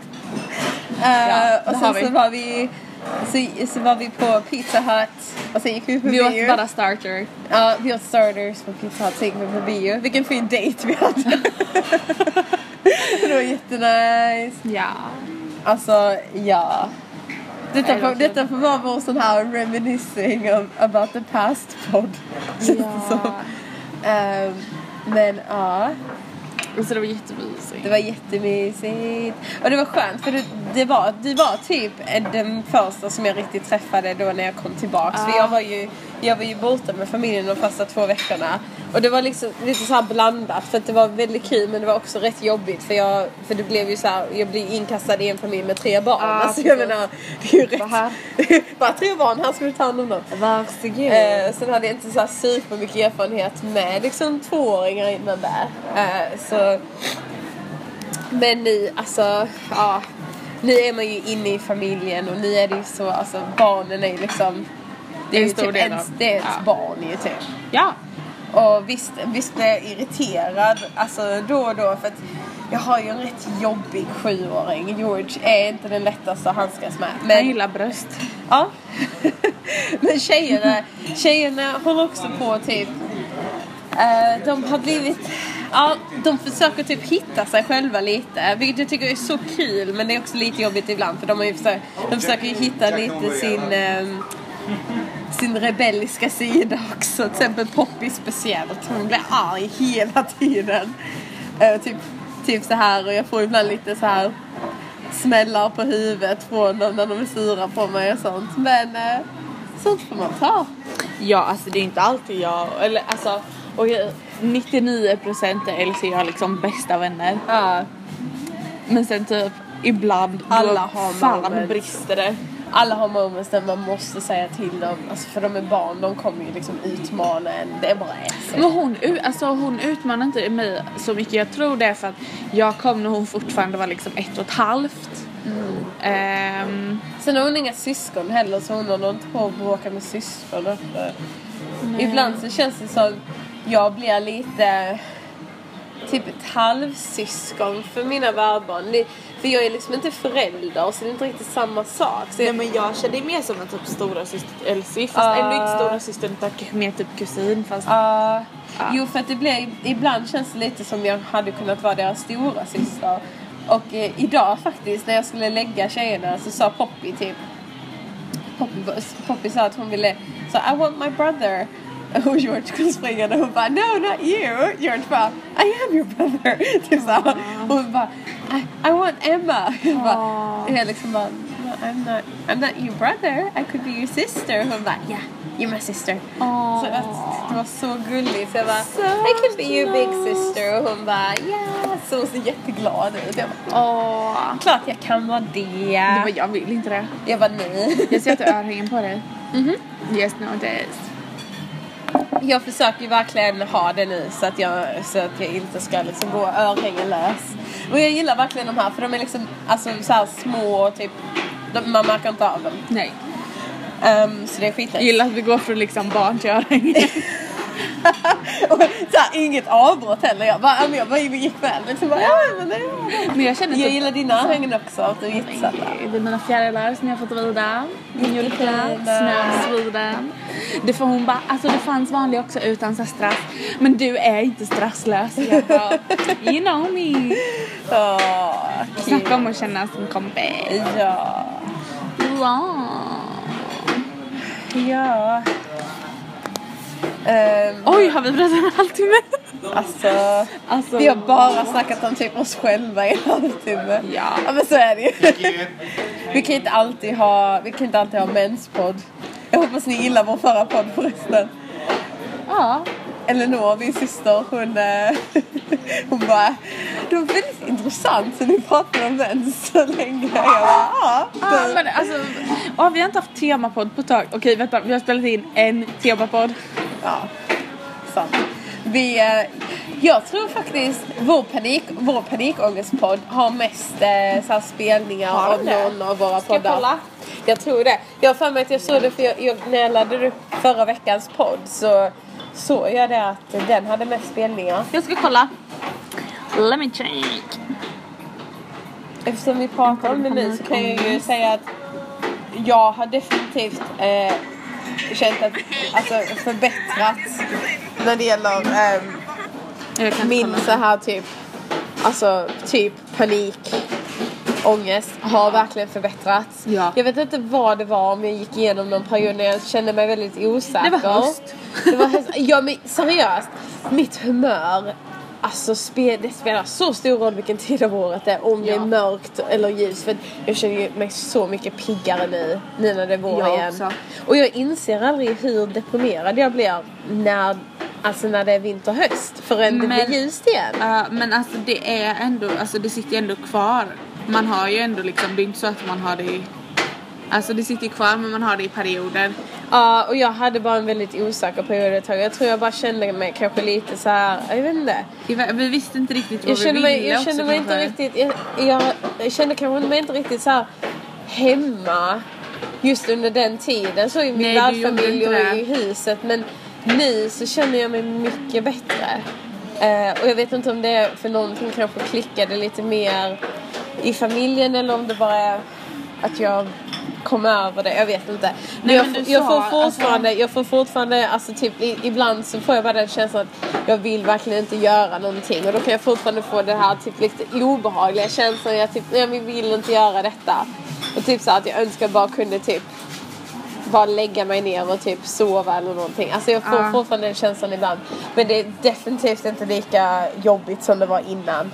B: Eh,
A: det
B: och
A: har
B: sen
A: vi.
B: så var vi så, så var vi på Pizza Hut och sen gick vi på
A: Vi
B: bio.
A: åt bara starter.
B: Ja, vi åt starters på Pizza Hut, sen gick vi på bio. Vilken fin dejt vi hade. det var jättenice.
A: Ja.
B: Alltså ja. Detta får, detta får vara vår sån här reminiscing of, about the past-podd. Känns det som. Ehm, men ja.
A: Alltså det var jättemysigt.
B: Det var jättemysigt. Och det var skönt för du, det var, du var typ den första som jag riktigt träffade då när jag kom tillbaks. För jag var, ju, jag var ju borta med familjen de första två veckorna. Och det var liksom lite så här blandat för att det var väldigt kul men det var också rätt jobbigt för jag, för det blev ju så här, jag blev inkastad i en familj med tre barn. alltså jag menar, det är ju rätt. Bara tre barn, han skulle ta hand om dem.
A: Varsågod.
B: Eh, sen hade jag inte så här supermycket erfarenhet med liksom tvååringar innan där. Eh, så... Men nu, alltså, ja. Nu är man ju inne i familjen och nu är det ju så, alltså barnen är ju liksom... Det är
A: En
B: ju
A: stor
B: typ
A: del
B: ens,
A: av-
B: det är ens
A: ja.
B: barn ju typ.
A: Ja.
B: Och visst, visst blir jag irriterad alltså då och då för att jag har ju en rätt jobbig sjuåring. George är inte den lättaste att handskas med. Men-
A: Jag gillar bröst.
B: Ja. Men tjejerna, tjejerna håller också på typ... eh, de har blivit... Ja, de försöker typ hitta sig själva lite. Vilket jag tycker är så kul men det är också lite jobbigt ibland för de, har ju försökt, de försöker ju hitta lite sin... ehm, sin rebelliska sida också. Till exempel Poppy speciellt. Hon blir arg hela tiden. Eh, typ, typ så här och jag får ibland lite så här smällar på huvudet från dem när de är sura på mig och sånt. Men eh, sånt får man ta.
A: Ja, alltså det är inte alltid jag, eller alltså, och jag, 99% är Elsie och jag liksom bästa vänner.
B: Ja.
A: Men sen typ ibland,
B: Alla
A: då
B: har
A: fan
B: moments.
A: brister det.
B: Alla har moments där man måste säga till dem, alltså för de är barn, de kommer ju liksom utmana en. Det är bara
A: Men
B: så.
A: hon, u- alltså, hon utmanar inte mig så mycket. Jag tror det är för att jag kom när hon fortfarande var liksom ett och ett halvt. Mm. Ehm,
B: Sen har hon inga syskon heller så hon håller inte på att bråka med syskon. efter. Ibland så känns det som jag blir lite typ ett halvsyskon för mina värdbarn. Det- För jag är liksom inte förälder så det är inte riktigt samma sak. Så jag-
A: Nej men jag kände ju mer som en typ stora syster Elsie fast
B: Ah.
A: ändå inte stora syster utan k- mer typ kusin fast
B: Ja. Jo, för att det blir, ibland känns det lite som jag hade kunnat vara deras stora syster. Och eh, idag faktiskt, när jag skulle lägga tjejerna så sa Poppy typ... Poppy, Poppy sa att hon ville... Så I want my brother. Och George kom springande och hon bara No, not you! George bara I am your brother! Typ så. här. Hon bara I, I want Emma! Jag, bara, jag liksom bara no, I'm, not, I'm not your brother, I could be your sister! Hon bara Yeah, you're my sister! Så att det var så gulligt. Så jag bara, I can be your big sister. Och hon bara, yeah. Så hon ser jätteglad ut. Jag bara,
A: Åh.
B: klart jag kan vara
A: Det
B: det.
A: var, jag vill inte det.
B: Jag bara, nej.
A: Jag sätter örhängen på dig. Mhm. Yes no days.
B: Jag försöker ju verkligen ha det nu så att jag, så att jag inte ska liksom gå örhängelös. Och jag gillar verkligen de här för de är liksom alltså, så här små och typ. De, man märker inte av dem.
A: Nej.
B: Ehm, så det är skitnice.
A: Jag gillar att vi går från liksom barn till örhängen.
B: och så här, inget avbrott heller. Jag bara, ja, men jag bara gick väl. Liksom bara, ja, men det
A: Men jag känner
B: Jag
A: typ
B: gillar dina örhängen också. Att du är jättesatta.
A: det är mina fjärilar som jag har fått rida. Min julklapp, snösviden. Det får hon bara, alltså det fanns vanliga också utan så här strass. Men du är inte strasslös. Jag bara, you know me.
B: Ja, kul.
A: Snacka om att känna som kompis.
B: Ja.
A: Ja.
B: Ja. Ehm,
A: Oj, har vi pratat en halvtimme?
B: alltså,
A: Alltså,
B: vi har bara snackat om typ oss själva i en halvtimme.
A: Ja.
B: ja, men så är det ju. Vi kan inte alltid ha, vi kan inte alltid ha menspodd. Jag hoppas ni gillar vår förra podd förresten.
A: Ja.
B: Eleanor, min syster, hon, eh, hon bara Det var väldigt intressant så ni pratade om mens så länge. Jag bara, ja.
A: Ja,
B: det-
A: men alltså, ja, vi har inte haft temapodd på ett tag. Okej, vänta, vi har spelat in en temapodd.
B: Ja, sant. Vi, eh, jag tror faktiskt vår, panik, vår panikångestpodd har mest eh, så här spelningar
A: Har de
B: av
A: det?
B: någon av våra
A: Ska jag
B: poddar.
A: kolla?
B: Jag tror det. Jag har för mig att jag såg det för jag, jag, när jag laddade upp förra veckans podd så såg jag det att den hade mest spelningar.
A: Jag ska kolla. Let me check.
B: Eftersom vi pratar om det nu så kan jag ju säga att jag har definitivt eh, känt att alltså förbättrats när det gäller ehm,
A: Jag kan inte
B: min
A: kolla.
B: så här typ Alltså typ panik
E: ångest har verkligen förbättrats.
F: Ja.
E: Jag vet inte vad det var om jag gick igenom någon period när jag kände mig väldigt osäker.
A: Det var höst.
E: Det var höst. Ja men seriöst, mitt humör Alltså spe- det spelar så stor roll vilken tid av året det är, om det är
F: Ja.
E: mörkt eller ljus. För att jag känner ju mig så mycket piggare nu, nu när det är vår
A: Jag
E: igen.
A: också.
E: Och jag inser aldrig hur deprimerad jag blir när, alltså när det är vinter och höst förrän det
A: Men-
E: blir ljust igen.
A: Ja, men alltså det är ändå, alltså det sitter ju ändå kvar. Man har ju ändå liksom, det är inte så att man har det i... Alltså det sitter ju kvar men man har det i perioder.
E: Ja, och jag hade bara en väldigt osäker period ett tag. Jag tror jag bara kände mig kanske lite så här, jag vet inte.
A: Det var- Vi visste inte riktigt vad
E: Jag
A: vi
E: kände
A: ville
E: mig, jag
A: också
E: kände mig
A: kanske.
E: inte riktigt, jag, jag, jag kände kanske mig inte riktigt så här hemma just under den tiden. Så i min
A: Nej, du gjorde
E: värdfamilj och
A: inte det.
E: i huset. Men nu så känner jag mig mycket bättre. Eh, och jag vet inte om det är för någonting kanske klickade lite mer i familjen eller om det bara är att jag kom över det, jag vet inte. Men
A: Nej,
E: jag,
A: men du
E: jag
A: sa, alltså-
E: får fortfarande, jag får fortfarande, alltså typ i, ibland så får jag bara den känslan att jag vill verkligen inte göra någonting och då kan jag fortfarande få den här typ lite obehagliga känslan, jag typ, nej men vill inte göra detta. Och typ så här att jag önskar bara kunde typ bara lägga mig ner och typ sova eller någonting. Alltså jag får
A: Ja.
E: fortfarande den känslan ibland. Men det är definitivt inte lika jobbigt som det var innan.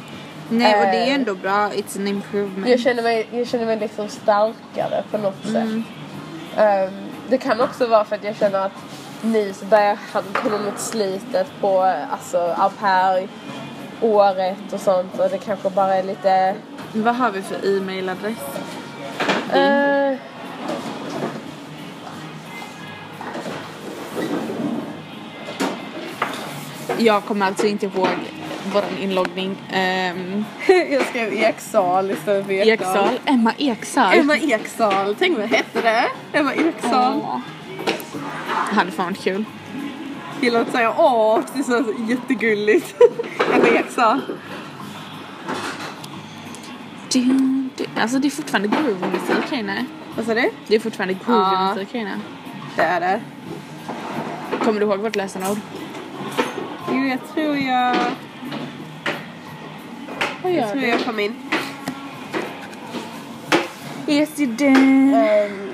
A: Nej och det är ju
E: Eh,
A: ändå bra, it's an improvement.
E: Jag känner mig, jag känner mig liksom starkare på något
A: Mm.
E: sätt. Ehm, det kan också vara för att jag känner att nu så börjar han komma mot slutet på alltså, au pair året och sånt och det kanske bara är lite...
A: Vad har vi för e-mailadress?
E: eh,
F: Jag kommer alltså inte ihåg våran inloggning. Ehm,
B: Jag skrev Eksal istället för Ekdal.
F: Eksal. Emma Eksal.
B: Emma Eksal. Tänk vad hette det? Emma Eksal.
F: Åh. Hade fan varit kul.
B: Gillar att säga åh, det känns jättegulligt. Emma Eksal.
F: Dun, dun. Alltså det är fortfarande groove-musik här inne.
B: Vad sa du?
F: Det är fortfarande groove-musik här inne.
B: Det är det.
F: Kommer du ihåg vårt lösenord?
B: Jo, jag tror jag... Jag tror jag kom in.
A: Yes you do.
B: Ehm,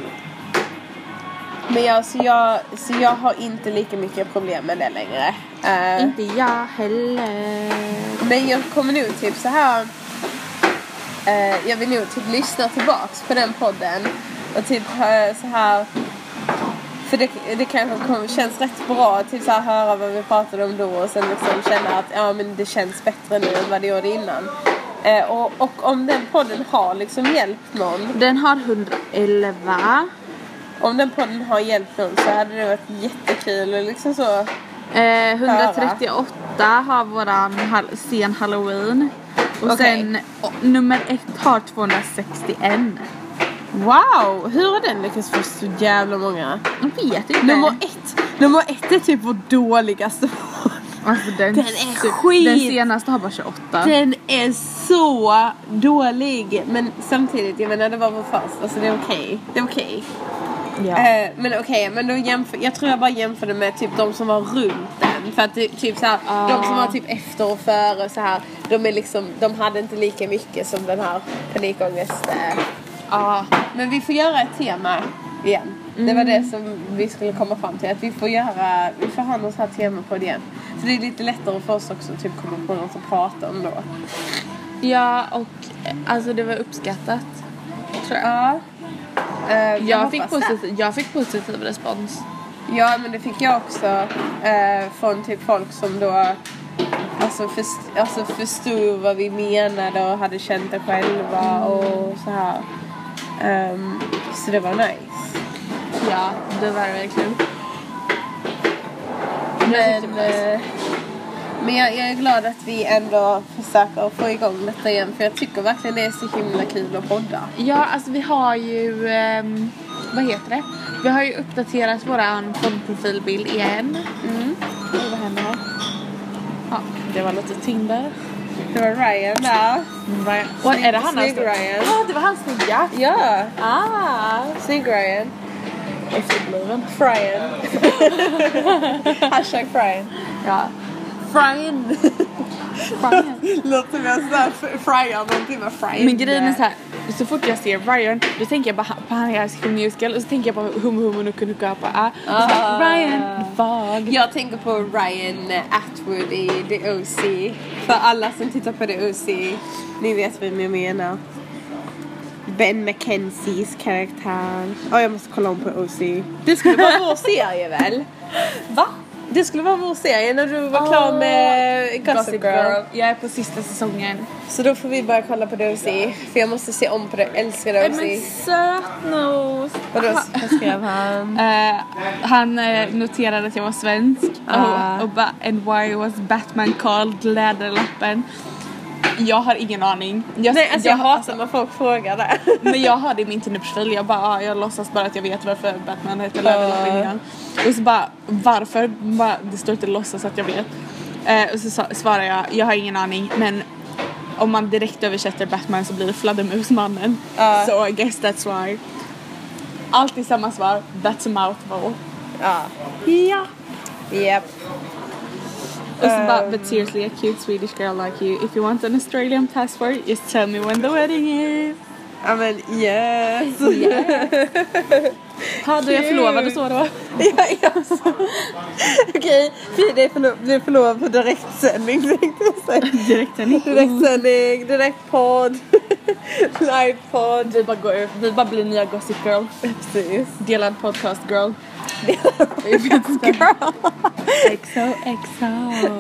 B: men jag, så jag, så jag har inte lika mycket problem med det längre. Ehm,
A: Inte jag heller.
B: Men jag kommer nog typ så här. Eh, jag vill nog typ lyssna tillbaks på den podden. Och typ eh, så här. För det, det kanske kom, känns rätt bra att typ så här höra vad vi pratade om då och sen liksom känna att ja men det känns bättre nu än vad det gjorde innan. Eh, och, och om den podden har liksom hjälpt någon.
A: Den har 111.
B: Om den podden har hjälpt någon så hade det varit jättekul och liksom så.
A: Eh, 138 har våran hall- sen halloween. Och
B: Okej.
A: sen o- nummer ett har 261.
B: Wow! Hur har den lyckats få så jävla många?
A: Jag vet inte.
B: Nummer ett. Nummer ett är typ vår dåligaste
A: alltså, den,
B: Den är skit.
A: Den senaste har bara 28.
B: Den är så dålig. Men samtidigt, jag menar det var vår första så det är okej. Det är okej. Eh, men okej, men då jämför, jag tror jag bara jämförde med typ de som var runt den. För att det, typ så här, de som var typ efter och före och så här, de är liksom, de hade inte lika mycket som den här panikångest. eh.
A: Ja.
B: Men vi får göra ett tema igen. Det var det som vi skulle komma fram till. Att vi får göra, vi får ha något så här tema på det igen. Så det är lite lättare för oss också att typ komma på något att prata om då.
A: ja, och eh, alltså det var uppskattat. Tror jag.
B: Ja. Eh,
A: Jag,
B: hoppas
A: fick
B: det.
A: positiv, jag fick positiv respons.
B: Ja men det fick jag också eh, från typ folk som då alltså, först, alltså förstod vad vi menade och hade känt det själva och så här. Ehm, så det var nice.
A: Ja, det var det verkligen.
B: Men, eh, men jag, jag är glad att vi ändå försöker få igång detta igen för jag tycker verkligen det är så himla kul att podda.
A: Ja, alltså vi har ju... ehm, vad heter det? Vi har ju uppdaterat våran poddprofilbild igen. Oj, Mm. vad händer här? Ja, det var lite Tinder.
B: Det var Ryan där.
A: Right. Och är det han
B: Snygg
A: alltså?
B: Ryan.
A: Ja, det var hans nya.
B: Ja,
A: Ah!
B: snygg Ryan.
A: Efterbliven.
B: Fryan. Hashtag Fryan.
A: Ja.
B: Fryan. Låter som jag såhär fryar någonting med fryan.
A: Men grejen är så här. så fort jag ser Ryan då tänker jag bara han- på han i High School Musical och så tänker jag på Hum Hum och Nuku Nuku Apa. Ah. Och så bara, Ryan, vag.
B: Jag tänker på Ryan Atwood i The OC. För alla som tittar på The OC, ni vet vem jag menar. Ben Mackenzies karaktär. Ja, jag måste kolla om på OC. Det skulle vara vår serie väl? Va? Det skulle vara vår serie när du var klar med Gossip Girl.
A: Jag är på sista säsongen.
B: Så då får vi börja kolla på The OC. För jag måste se om på det. Jag älskar The
A: Men
B: OC.
A: sötnos!
B: Vadå, vad skrev han?
A: Eh, han eh, noterade att jag var svensk
B: Ah.
A: och, och bara and why was Batman called läderlappen. Jag har ingen aning. Jag,
B: Nej, alltså jag, hatar
A: alltså,
B: när folk frågar det.
A: Men jag har det i min Tinderprofil. Jag bara ah, jag låtsas bara att jag vet varför Batman heter läderlappen
B: Ah.
A: innan. Och så bara varför? Bara, det står inte låtsas att jag vet. Eh, och så sa- svarar jag jag har ingen aning men om man direkt översätter Batman så blir det Fladdermusmannen.
B: Ah.
A: So I guess that's why. Alltid samma svar. That's a mouthful.
B: Ja.
A: Ja.
B: Japp.
A: Och så bara,
B: Um.
A: but seriously a cute Swedish girl like you. If you want an Australian passport just tell me when the wedding is.
B: Ja men yes!
A: Ja, då är jag
B: Cute.
A: förlovad och så då.
B: ja, yes. Okej, Frida är förlo- blev förlovad på direktsändning tänkte jag säga.
A: Direktsändning.
B: Direktsändning, direktpodd, livepodd.
A: Vi bara går ut, vi bara blir nya Gossip Girl.
B: Precis.
A: Delad podcast girl. XOXO.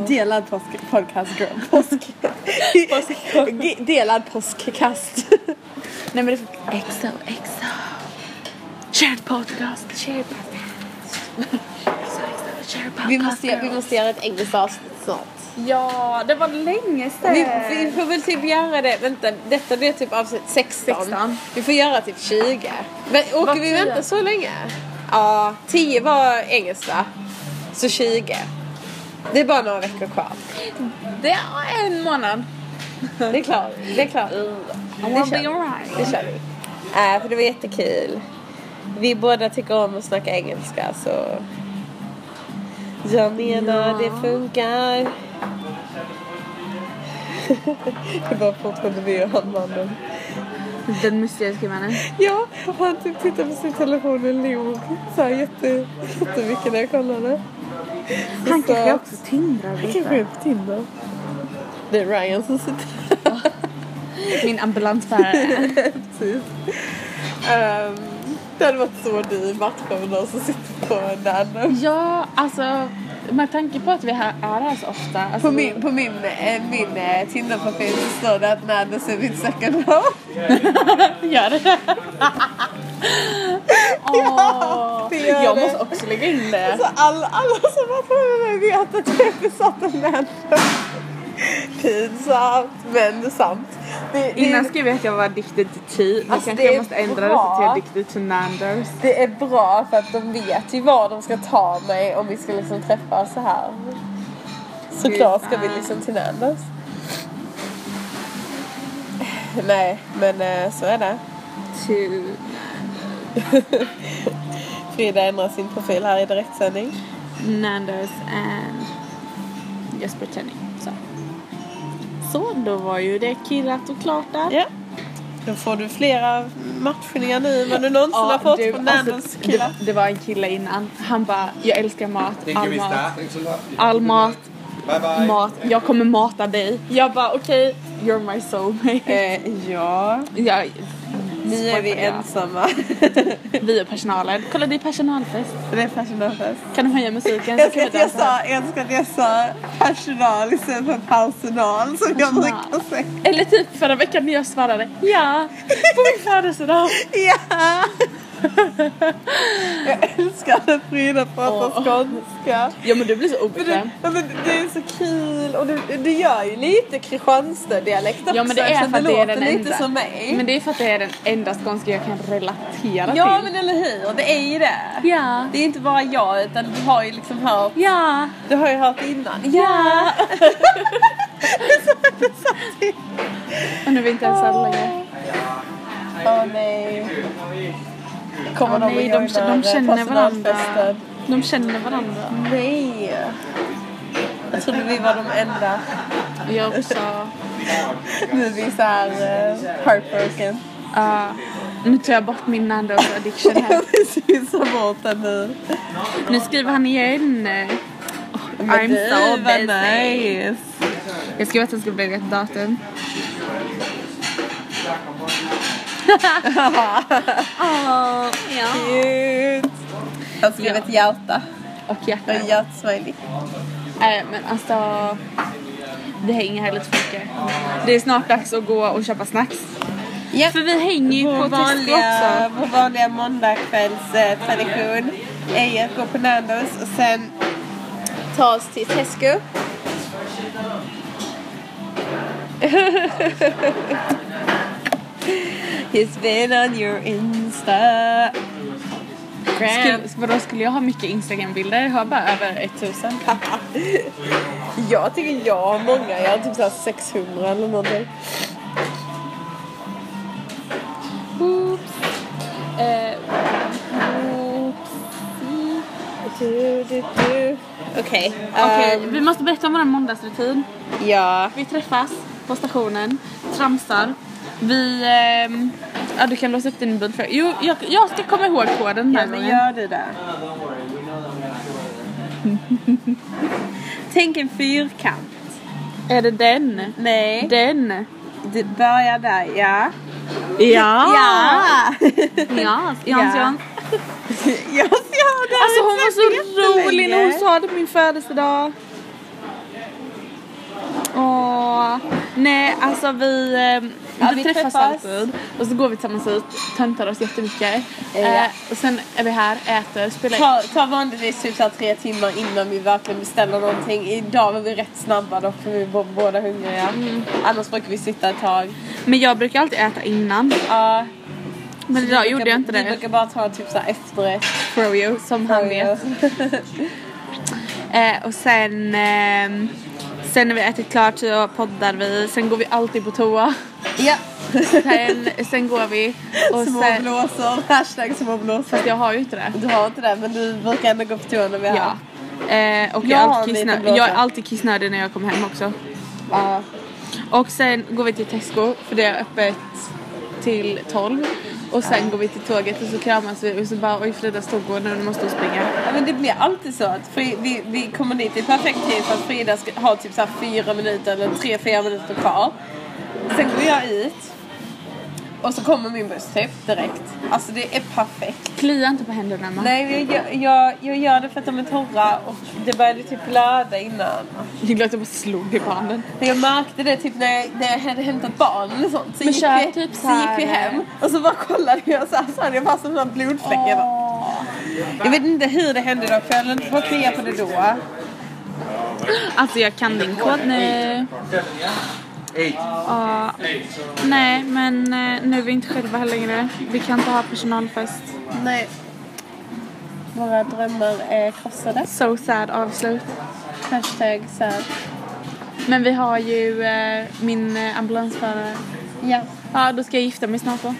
B: Delad påsk- podcast girl. Påsk. G- Delad påskkast.
A: Nej men det är XOXO. Shared podcast. Shared podcast. XOXO, shared podcast.
B: vi, måste, göra- vi måste göra ett engelskt avsnitt snart.
A: Ja, det var länge sedan.
B: Vi, vi får väl typ göra det, vänta, detta blir typ avsnitt 16.
A: 16.
B: Vi får göra typ 20. Men åker
A: Vad
B: vi
A: tio?
B: vänta så länge? Ja, 10 var engelska. Så 20. Det är bara några veckor kvar.
A: Det är en månad.
B: Det är klart. Det är klart. Det kör, vi.
A: alright.
B: det kör vi. Äh, för det var jättekul. Vi båda tycker om att snacka engelska så... Jag menar,
A: Ja.
B: det funkar. det var fortfarande vi och han mannen.
C: Den mysteriska mannen.
B: Ja, och han typ tittade på sin telefon och log så här jätte, jättemycket när jag kollade. Så
C: Han
B: sa-
C: kanske också tindrar
B: Han
C: lite.
B: kanske är på Tinder. Det är Ryan som sitter
A: Min ambulansbärare.
B: precis. Ehm, det hade varit så dyr match med någon som sitter på den.
A: ja, alltså med tanke på att vi här är här så ofta. Alltså,
B: På min, på min, eh, min eh, Tinder-profil så står det att Nannes är mitt second home.
A: Gör det. Åh,
B: det gör
A: jag
B: det.
A: måste också lägga in det.
B: Så alla, alla som har frågat mig vet att jag är besatt av Nanne. Pinsamt, men sant. Det, det,
C: Innan skrev jag att jag var addicted till tea. Nu
B: Alltså,
C: kanske
B: det
C: jag
B: är
C: måste ändra det
B: bra.
C: så att jag är addicted till Nanders.
B: Det är bra för att de vet ju var de ska ta mig om vi ska liksom träffas så här. Såklart ska vi liksom till Nandos. Nej, men eh, så är det.
C: Till...
B: Frida ändrar sin profil här i direktsändning.
C: Nandos and Jesper Tenning. Så. så då var ju det killat och klart där.
B: Ja. Då får du flera matchningar nu än vad du någonsin har fått
A: du,
B: från
A: alltså,
B: Nandos
A: det,
B: killar.
A: var- det var en kille innan. Han bara, jag älskar mat,
D: Thank you,
A: all
D: Miss
A: mat,
D: Dad. Thanks a lot.
A: all mat,
D: Bye bye.
A: mat, jag kommer mata dig. Jag bara okej, you're my soulmate.
B: Eh, ja,
A: Jag,
B: nu är vi
A: Spoiler, ja.
B: ensamma.
A: Vi och personalen. Kolla det är personalfest.
B: det är personalfest.
A: Kan du höja musiken så
B: Jag ska
A: kan
B: att
A: vi
B: jag
A: dansa.
B: sa, jag älskar att jag sa personal istället för personal som jag
A: Personal.
B: brukar säga.
A: Eller typ förra veckan när jag svarade ja på min födelsedag.
B: Ja! Jag älskar när Frida pratar
A: Åh.
B: skånska.
A: Ja men du blir så
B: Men det,
A: obekväm.
B: ja, men det är så kul och du, du gör ju lite Kristianstad-dialekt också.
A: Ja men det är
B: eftersom
A: för att det är
B: låter
A: den
B: lite
A: enda.
B: som mig.
A: Men det är för att det är den enda skånska jag kan relatera
B: ja
A: till.
B: men eller hur, det är ju det.
A: Ja.
B: Det är inte bara jag utan du har ju liksom hört,
A: Ja.
B: du har ju hört innan.
A: Ja. Och nu är vi inte ens här längre.
B: Åh nej. Kommer
A: Åh,
B: de
A: nej,
B: och
A: de-
B: joinar,
A: de känner
B: eh,
A: varandra.
B: personalfesten?
A: De känner varandra.
B: Nej. Jag trodde vi var de enda.
A: Jag också.
B: Nu är vi såhär uh, eh, heartbroken.
A: Ja. Ah, nu tar jag bort min Nandos addiction här.
B: Vi switchar bort den nu.
A: Nu skriver han igen. Oh, I'm
B: Du,
A: so
B: vad
A: busy.
B: nice.
A: Jag skrev att den skulle bli rätt datum. Ah, oh, ja.
B: Cute. Jag skrev ett hjärta.
A: Och hjärtat.
B: En hjärtsmiley.
A: Nej men alltså. Det hänger här lite för mycket. Det är snart dags att gå och köpa snacks.
B: Ja.
A: För vi hänger ju på
B: Vår
A: Tesco också.
B: vanliga, vår vanliga måndagskvällstradition är ju att gå på Nandos och sen ta oss till Tesco. He's been on your Insta.
A: Skulle, vadå skulle jag ha mycket instagrambilder? Jag har bara över 1000.
B: Jag tycker jag har många. Jag har typ såhär 600 eller någonting.
A: Oops. Eh, oops.
B: Du, du, du. Okej.
A: Okej,
B: ehm,
A: vi måste berätta om vår måndagsrutin.
B: ja.
A: Vi träffas på stationen, tramsar. Vi... ehm, ja, du kan låsa upp din mobilfråga. Jo, jag, jag ska komma ihåg koden den här
B: Ja, men
A: gången.
B: gör du det? Tänk en fyrkant.
A: Är det den?
B: Nej.
A: Den?
B: Du börjar där, ja.
A: Ja!
B: Ja!
A: Ja, Jans, Jans.
B: jag ser det!
A: Alltså hon var så rolig när hon sa det på min födelsedag. Åh. Nej, alltså vi, eh,
B: Ja,
A: vi,
B: vi
A: träffas,
B: träffas.
A: alltid och så går vi tillsammans ut, töntar oss jättemycket. Eh, och sen är vi här, äter, spelar in.
B: Ta, ta vanligtvis typ så här tre timmar innan vi verkligen beställer någonting. Idag var vi rätt snabba dock för vi var båda hungriga.
A: Mm.
B: Annars brukar vi sitta ett tag.
A: Men jag brukar alltid äta innan.
B: Ja.
A: Men
B: vi
A: idag
B: brukar-
A: gjorde jag inte
B: Vi
A: det.
B: brukar bara ta typ så här efterrätt.
A: For you, som han vet. Eh, och sen, ehm, sen när vi ätit klart så poddar vi. Sen går vi alltid på toa.
B: Ja.
A: Sen, sen går vi. Och
B: små
A: sen,
B: blåsor. Hashtag små blåsor.
A: fast jag har ju inte det.
B: Du har inte det men du brukar ändå gå på toa när vi är
A: Ja.
B: här.
A: Eh, och
B: Jag
A: jag, är
B: har
A: alltid
B: en liten
A: kissnödig,
B: blåsa.
A: jag är alltid kissnödig när jag kommer hem också.
B: Ja.
A: Och sen går vi till Tesco för det är öppet till 12. Och sen går vi till tåget och så kramas vi och så bara oj Fridas tåg går nu, nu måste hon springa.
B: Ja, men det blir alltid så att Fri, vi, vi kommer dit i perfekt tid för att Frida ska, har typ så här fyra minuter eller tre, fyra minuter kvar. Sen går jag ut och så kommer min buss typ direkt. Alltså det är perfekt.
A: Klia inte på händerna Emma.
B: Nej, jag, jag, jag gör det för att de är torra och det började typ blöda innan.
A: Det låter bara slog dig på handen.
B: Jag märkte det typ när jag, när jag hade hämtat barn eller sånt. Så,
A: Men
B: gick,
A: kör
B: vi,
A: typ
B: så eh.
A: så här-
B: gick vi hem och så bara kollade jag så här så hade jag bara som en blodfläck. Jag, bara, jag vet inte hur det hände då för jag höll inte på att klia på det då.
A: Alltså jag kan din kod nu. Ja. nej men eh, nu är vi inte själva här längre. Vi kan inte ha personalfest.
B: Nej. Våra drömmar är krossade.
A: So sad avslut.
B: Hashtag så här.
A: Men vi har ju eh, min eh, ambulansförare.
B: Ja.
A: Ja, då ska jag gifta mig snart då.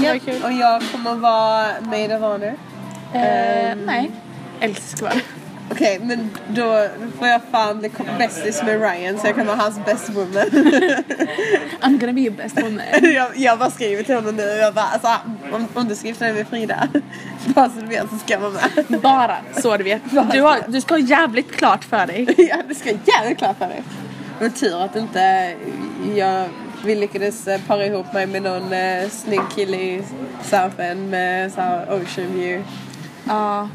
A: Det var kul.
B: Och jag kommer vara maid of honor.
A: Eh, nej. Älskar var
B: Okej, men då får jag fan bli bästis med Ryan så jag kan vara hans best woman.
A: I'm gonna be your best woman.
B: jag, jag bara skriver till honom nu jag bara alltså, om, om du ska gifta dig med Frida, bara så du vet så ska jag vara med.
A: Bara så du vet. Du, har, du ska ha jävligt klart för dig.
B: ja, det ska jag jävligt klart för dig. Men tur att inte jag vi lyckades eh, para ihop mig med någon eh, snygg kille i South End med så här, ocean view.
A: Ja.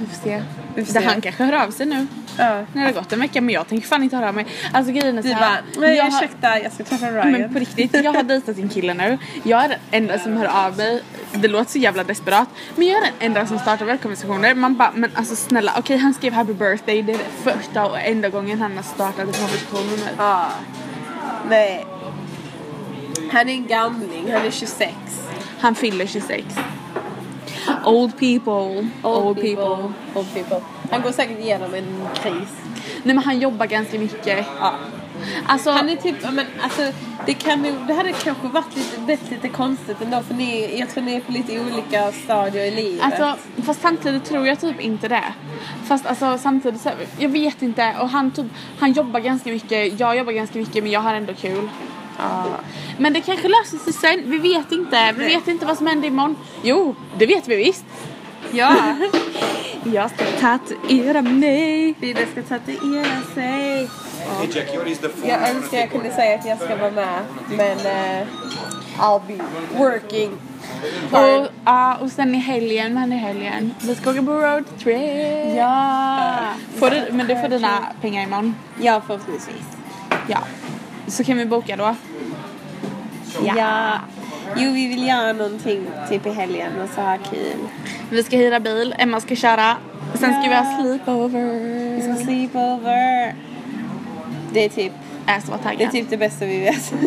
A: Vi får se.
B: Vi får
A: Det
B: se.
A: han kanske hör av sig nu.
B: Ja.
A: När det har gått en vecka men jag tänker fan inte höra av mig. Alltså grejen är
B: Du
A: såhär.
B: bara, nej
A: jag
B: jag
A: har-
B: ursäkta jag ska träffa Ryan.
A: Men på riktigt, jag har dejtat en kille nu. Jag är den enda som hör av mig. Det låter så jävla desperat. Men jag är den enda som startar välkomstkonversationer. Man bara, men alltså snälla. Okej, han skrev happy birthday. Det är det första och enda gången han har startat en konversation med mig.
B: Ja. Nej. Han är en gamling, han är 26.
A: Han fyller 26. Old people. Old, people.
B: Old people. Han går säkert igenom en kris.
A: Nej men han jobbar ganska mycket.
B: Ja.
A: Alltså,
B: Han är typ, ja, men alltså det kan ju, det hade kanske varit lite, blivit lite konstigt ändå för ni, jag tror ni är på lite olika stadier i livet.
A: Alltså, fast samtidigt tror jag typ inte det. Fast alltså samtidigt så, jag vet inte. Och han typ, han jobbar ganska mycket, jag jobbar ganska mycket men jag har ändå kul. Men det kanske löser sig sen. Vi vet inte. Vi vet inte vad som händer imorgon. Jo, det vet vi visst.
B: Ja,
A: Jag ska tatuera mig.
B: Frida ska tatuera sig.
D: Ejacular is the form
B: Jag
D: of
B: önskar jag kunde säga att jag ska vara med, men eh, I'll be working.
A: Och, ja, och sen i helgen, men i helgen. Vi ska åka på roadtrip. Ja. Får du, men du får dina pengar imorgon.
B: Ja, förhoppningsvis.
A: Ja. Så kan vi boka då.
B: Ja. Jo, vi vill göra någonting typ i helgen och så ha kul.
A: Vi ska hyra bil, Emma ska köra. Sen ska vi ha
B: Vi
A: sleepover.
B: ska Liksom sleepover. Det är typ
A: Jag är så taggad.
B: det, är typ det bästa vi vet.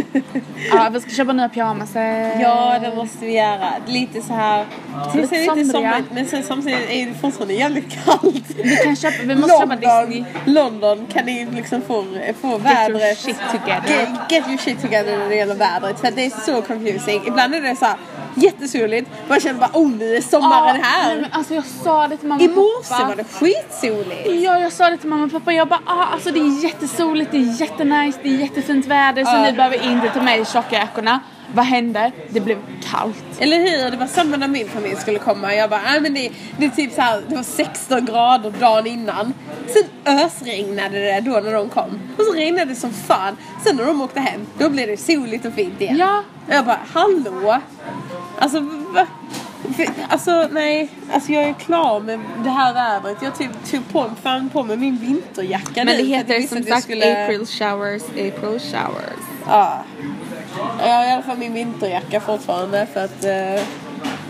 A: Ja, vi ska köpa nya pyjamasar.
B: ja, det måste vi göra. Lite så här... Det
A: Lite
B: ser lite
A: somriga.
B: somrigt men sen samtidigt är det fortfarande jävligt kallt.
A: Vi kan köpa, vi måste köpa Disney.
B: London, London kan ni liksom få, få
A: Get your
B: vädret.
A: shit together.
B: Get, get your shit together när det gäller vädret för det är så confusing. Ibland är det så här jättesoligt. Man känner bara oh nu är sommaren
A: Ja, Nej,
B: här.
A: men alltså jag sa det till mamma
B: I
A: och pappa.
B: morse var det skitsoligt.
A: Ja, jag sa det till mamma och pappa. Jag bara, ah, alltså det är jättesoligt, det är jättenice, det är jättefint väder så ni behöver inte ta med er tjocka jackorna. Vad hände? Det blev kallt.
B: Eller hur? Det var samma när min familj skulle komma. Jag bara, nej men det, det är typ så här, det var 16 grader dagen innan. Sen ösregnade det då när de kom. Och så regnade det som fan. Sen när de åkte hem, då blev det soligt och fint igen.
A: Ja.
B: Och jag bara, hallå? Alltså, va? För- Alltså nej, alltså jag är klar med det här vädret. Jag typ tog på, fan på mig min vinterjacka
A: Men
B: nu,
A: det
B: för att jag
A: heter
B: visste
A: som
B: att jag
A: sagt
B: skulle-
A: April showers, April showers.
B: Ja. Jag har i alla fall min vinterjacka fortfarande för att eh,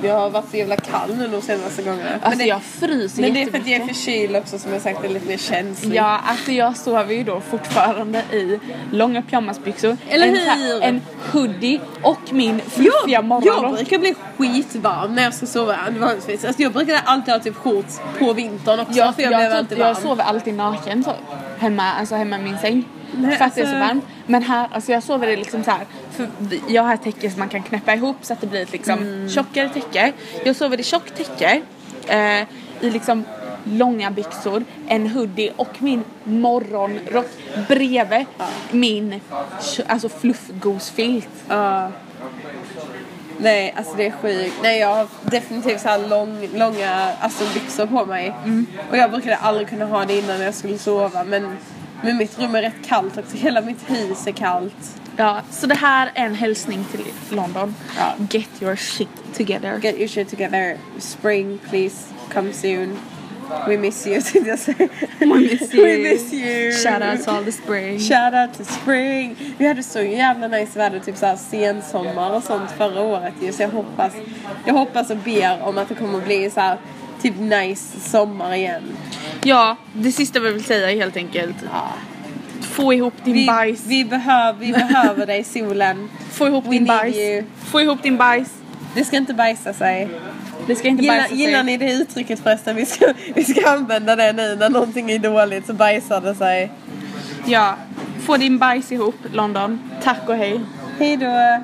B: jag har varit så jävla kall nu de senaste gångerna. men
A: Alltså
B: det,
A: jag fryser
B: men det är för
A: jättemycket.
B: att jag är förkyld också som jag sagt är lite mer känslig.
A: Ja, alltså jag sover ju då fortfarande i långa pyjamasbyxor,
B: Eller
A: en, så här-
B: hur?
A: en hoodie och min fluffiga
B: Jag
A: morgonrock.
B: brukar bli skitvarm när jag ska sova vanligtvis. Alltså jag brukar alltid ha typ shorts på vintern också
A: Jag,
B: för jag,
A: jag,
B: blev
A: typ,
B: alltid varm.
A: jag sover alltid naken typ. Hemma, alltså hemma i min säng.
B: Nej,
A: för att det är så
B: alltså-
A: varmt. Men här, alltså jag sover i liksom så här. För jag har ett täcke som man kan knäppa ihop så att det blir ett liksom
B: Mm.
A: tjockare täcke. Jag sover i tjockt täcke. Eh, I liksom långa byxor, en hoodie och min morgonrock bredvid min tjo- alltså fluffgosfilt.
B: Ja. Nej, alltså det är sjukt. Nej, jag har definitivt så här lång, långa alltså, byxor på mig.
A: Mm.
B: Och jag brukade aldrig kunna ha det innan jag skulle sova. Men, men mitt rum är rätt kallt också. Hela mitt hus är kallt.
A: Ja, så det här är en hälsning till London.
B: Ja.
A: Get your shit together.
B: Get your shit together. Spring, please. Come soon. We miss you, tänkte jag säga. We
A: miss
B: We
A: you.
B: miss you.
A: Shout out to all the spring.
B: Shout out to spring! Vi hade så jävla nice väder, typ såhär sensommar och sånt förra året ju. Så jag hoppas, jag hoppas och ber om att det kommer att bli så här typ nice sommar igen.
A: Ja, det sista vi vill säga är helt enkelt. Få ihop din
B: Vi,
A: bajs.
B: vi, behöv, vi behöver dig solen.
A: Få ihop
B: we
A: din
B: need
A: bajs.
B: you.
A: Få ihop din bajs.
B: Det ska inte bajsa sig.
A: Det ska inte
B: Gillar,
A: bajsa
B: gillar
A: sig.
B: ni det uttrycket förresten? Vi ska, vi ska använda det nu när någonting är dåligt så bajsar det sig.
A: Ja. Få din bajs ihop, London. Tack och hej.
B: Hej då!